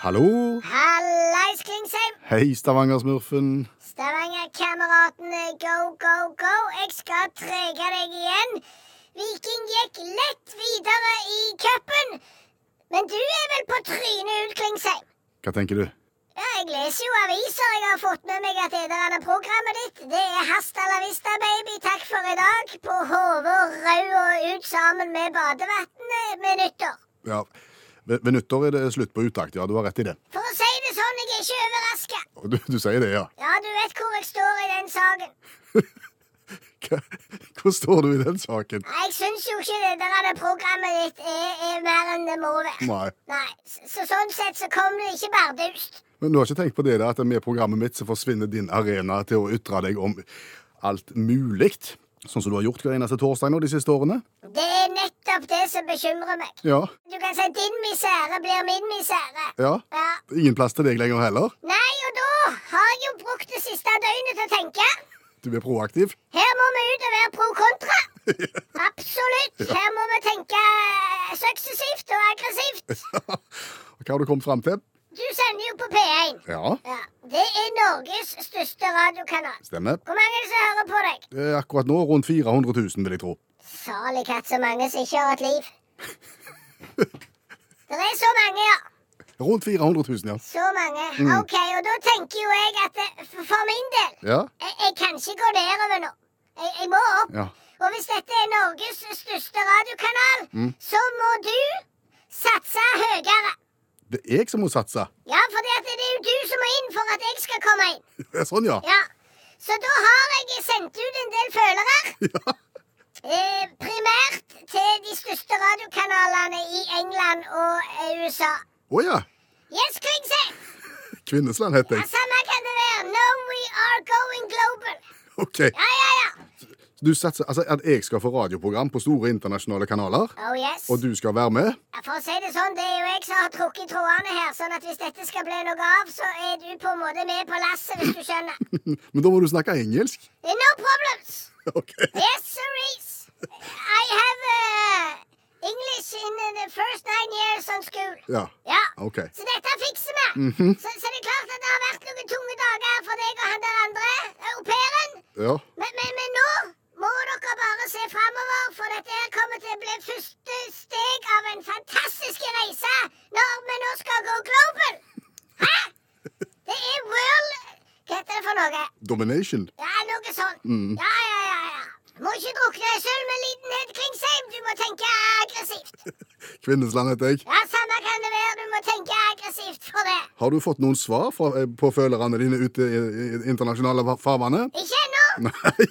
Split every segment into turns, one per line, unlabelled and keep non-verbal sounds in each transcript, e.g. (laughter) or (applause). Hallo.
Hallais, Klingsheim!
Hei, Stavanger-smurfen.
Stavanger-kameratene, go, go, go! Jeg skal trege deg igjen. Viking gikk lett videre i cupen. Men du er vel på trynet ut, Klingsheim?
Hva tenker du?
Ja, jeg leser jo aviser. Jeg har fått med meg at det der andre programmet ditt, det er Hasta la vista, baby. Takk for i dag. På hodet og rau og ut sammen med badevannet med nyttår.
Ja, ved, ved nyttår er det slutt på utakt. Ja, du har rett i det.
For å si det sånn, jeg er ikke overraska.
Og Du, du sier det, ja.
Ja, du vet hvor jeg står i den saken.
Hva, hvor står du i den saken?
Nei, Jeg syns jo ikke det der det programmet ditt er, er mer enn det må være.
Nei.
Nei, så, så Sånn sett så kom det ikke bardust.
Men du har ikke tenkt på det der at med programmet mitt så forsvinner din arena til å ytre deg om alt muligt? Sånn som du har gjort hver eneste torsdag nå de siste årene?
Det er nettopp det som bekymrer meg.
Ja.
Du kan si din misere blir min misere.
Ja.
Ja.
Ingen plass til deg lenger heller?
Nei, og da har jeg jo brukt det siste døgnet til å tenke.
Du er (laughs) proaktiv?
Her må vi ut og være pro kontra. Absolutt. Her må vi tenke eh, suksessivt og aggressivt.
Hva har du kommet fram til?
Du sender jo på P1.
Ja.
Ja. Det er Norges største radiokanal.
Stemmer.
Hvor mange er det som hører på deg?
Eh, Akkurat nå rundt 400 000, vil jeg tro.
Salig katt, så mange som ikke har et liv. Det er så mange, ja.
Rundt 400 000, ja.
Så mange. OK, og da tenker jo jeg at eh, f- for min del
Ja?
Jeg, jeg kan ikke gå nedover nå. Jeg, jeg må opp.
Ja.
Og hvis dette er Norges største radiokanal, så må du satse høyere.
Det er jeg som må satse. (laughs)
Ja, for det er jo du som må inn for at jeg skal komme inn.
Sånn, ja.
Ja. Så da har jeg sendt ut en del følere.
Ja.
(laughs) Eh, primært til de største radiokanalene i England og eh, USA.
Å ja.
Yes, Klingsheim!
Kvinnesland heter
Ja,
jeg. (laughs)
samme kan det være. No, we are going global.
Ok,
Ja, ja, ja.
så du satser, altså At jeg skal få radioprogram på store internasjonale kanaler,
Oh, yes.
og du skal være med? (laughs)
Ja, for å si det sånn, det er jo jeg som har trukket i trådene her, sånn at hvis dette skal bli noe av, så er du på en måte med på lasset, hvis du skjønner.
Men da må du snakke engelsk. (laughs)
No problems.
Ok.
Yes, sirs. I have uh, English in the first nine years on school.
Ja.
Ja.
Ok. Mhm.
Så dette fikser vi.
Mm.
så, så det er klart at det har vært noen tunge dager for deg og han der andre, au pairen.
Ja.
Men, men, men nå må dere bare se framover, for dette her kommer til å bli første steg av en fantastisk reise når vi nå skal gå global. Hæ? Det er world Hva heter det for noe?
Domination.
Ja, noe sånt. Ja, ja, ja. ja. Må ikke drukne i sølv med lidenhet, Klingsheim. Du må tenke aggressivt.
Kvinnesland heter jeg.
Ja, samme kan det være. Du må tenke aggressivt for det.
Har du fått noen svar fra, eh, på følerne dine ute i i internasjonale fa- farvannet? (laughs)
Ikke ennå,
Nei.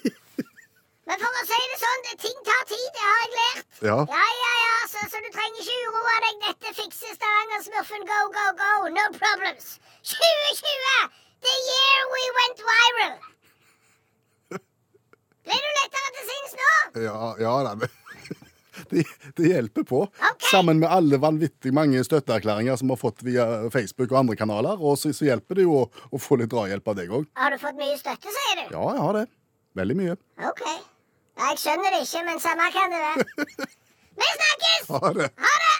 men for å si det sånn, det- ting tar tid. Det har jeg lært.
Ja.
Ja, ja, ja, så, så du trenger ikke uroe deg. Dette fikser Stavanger-smurfen. Go, go, go. No problems. 2020! The year we went viral. Ble du lettere til sinns nå?
Ja, ja da. det- (laughs) Det, det hjelper på.
Ok.
Sammen med alle vanvittig mange støtteerklæringer som vi har fått via Facebook og andre kanaler, og så, så hjelper det jo å, å få litt drahjelp av deg òg.
Har du fått mye støtte, sier du?
Ja, jeg har det. Veldig mye.
OK. Ja, jeg skjønner det ikke, men samme kan det være. Vi snakkes!
Ha det.
Ha det!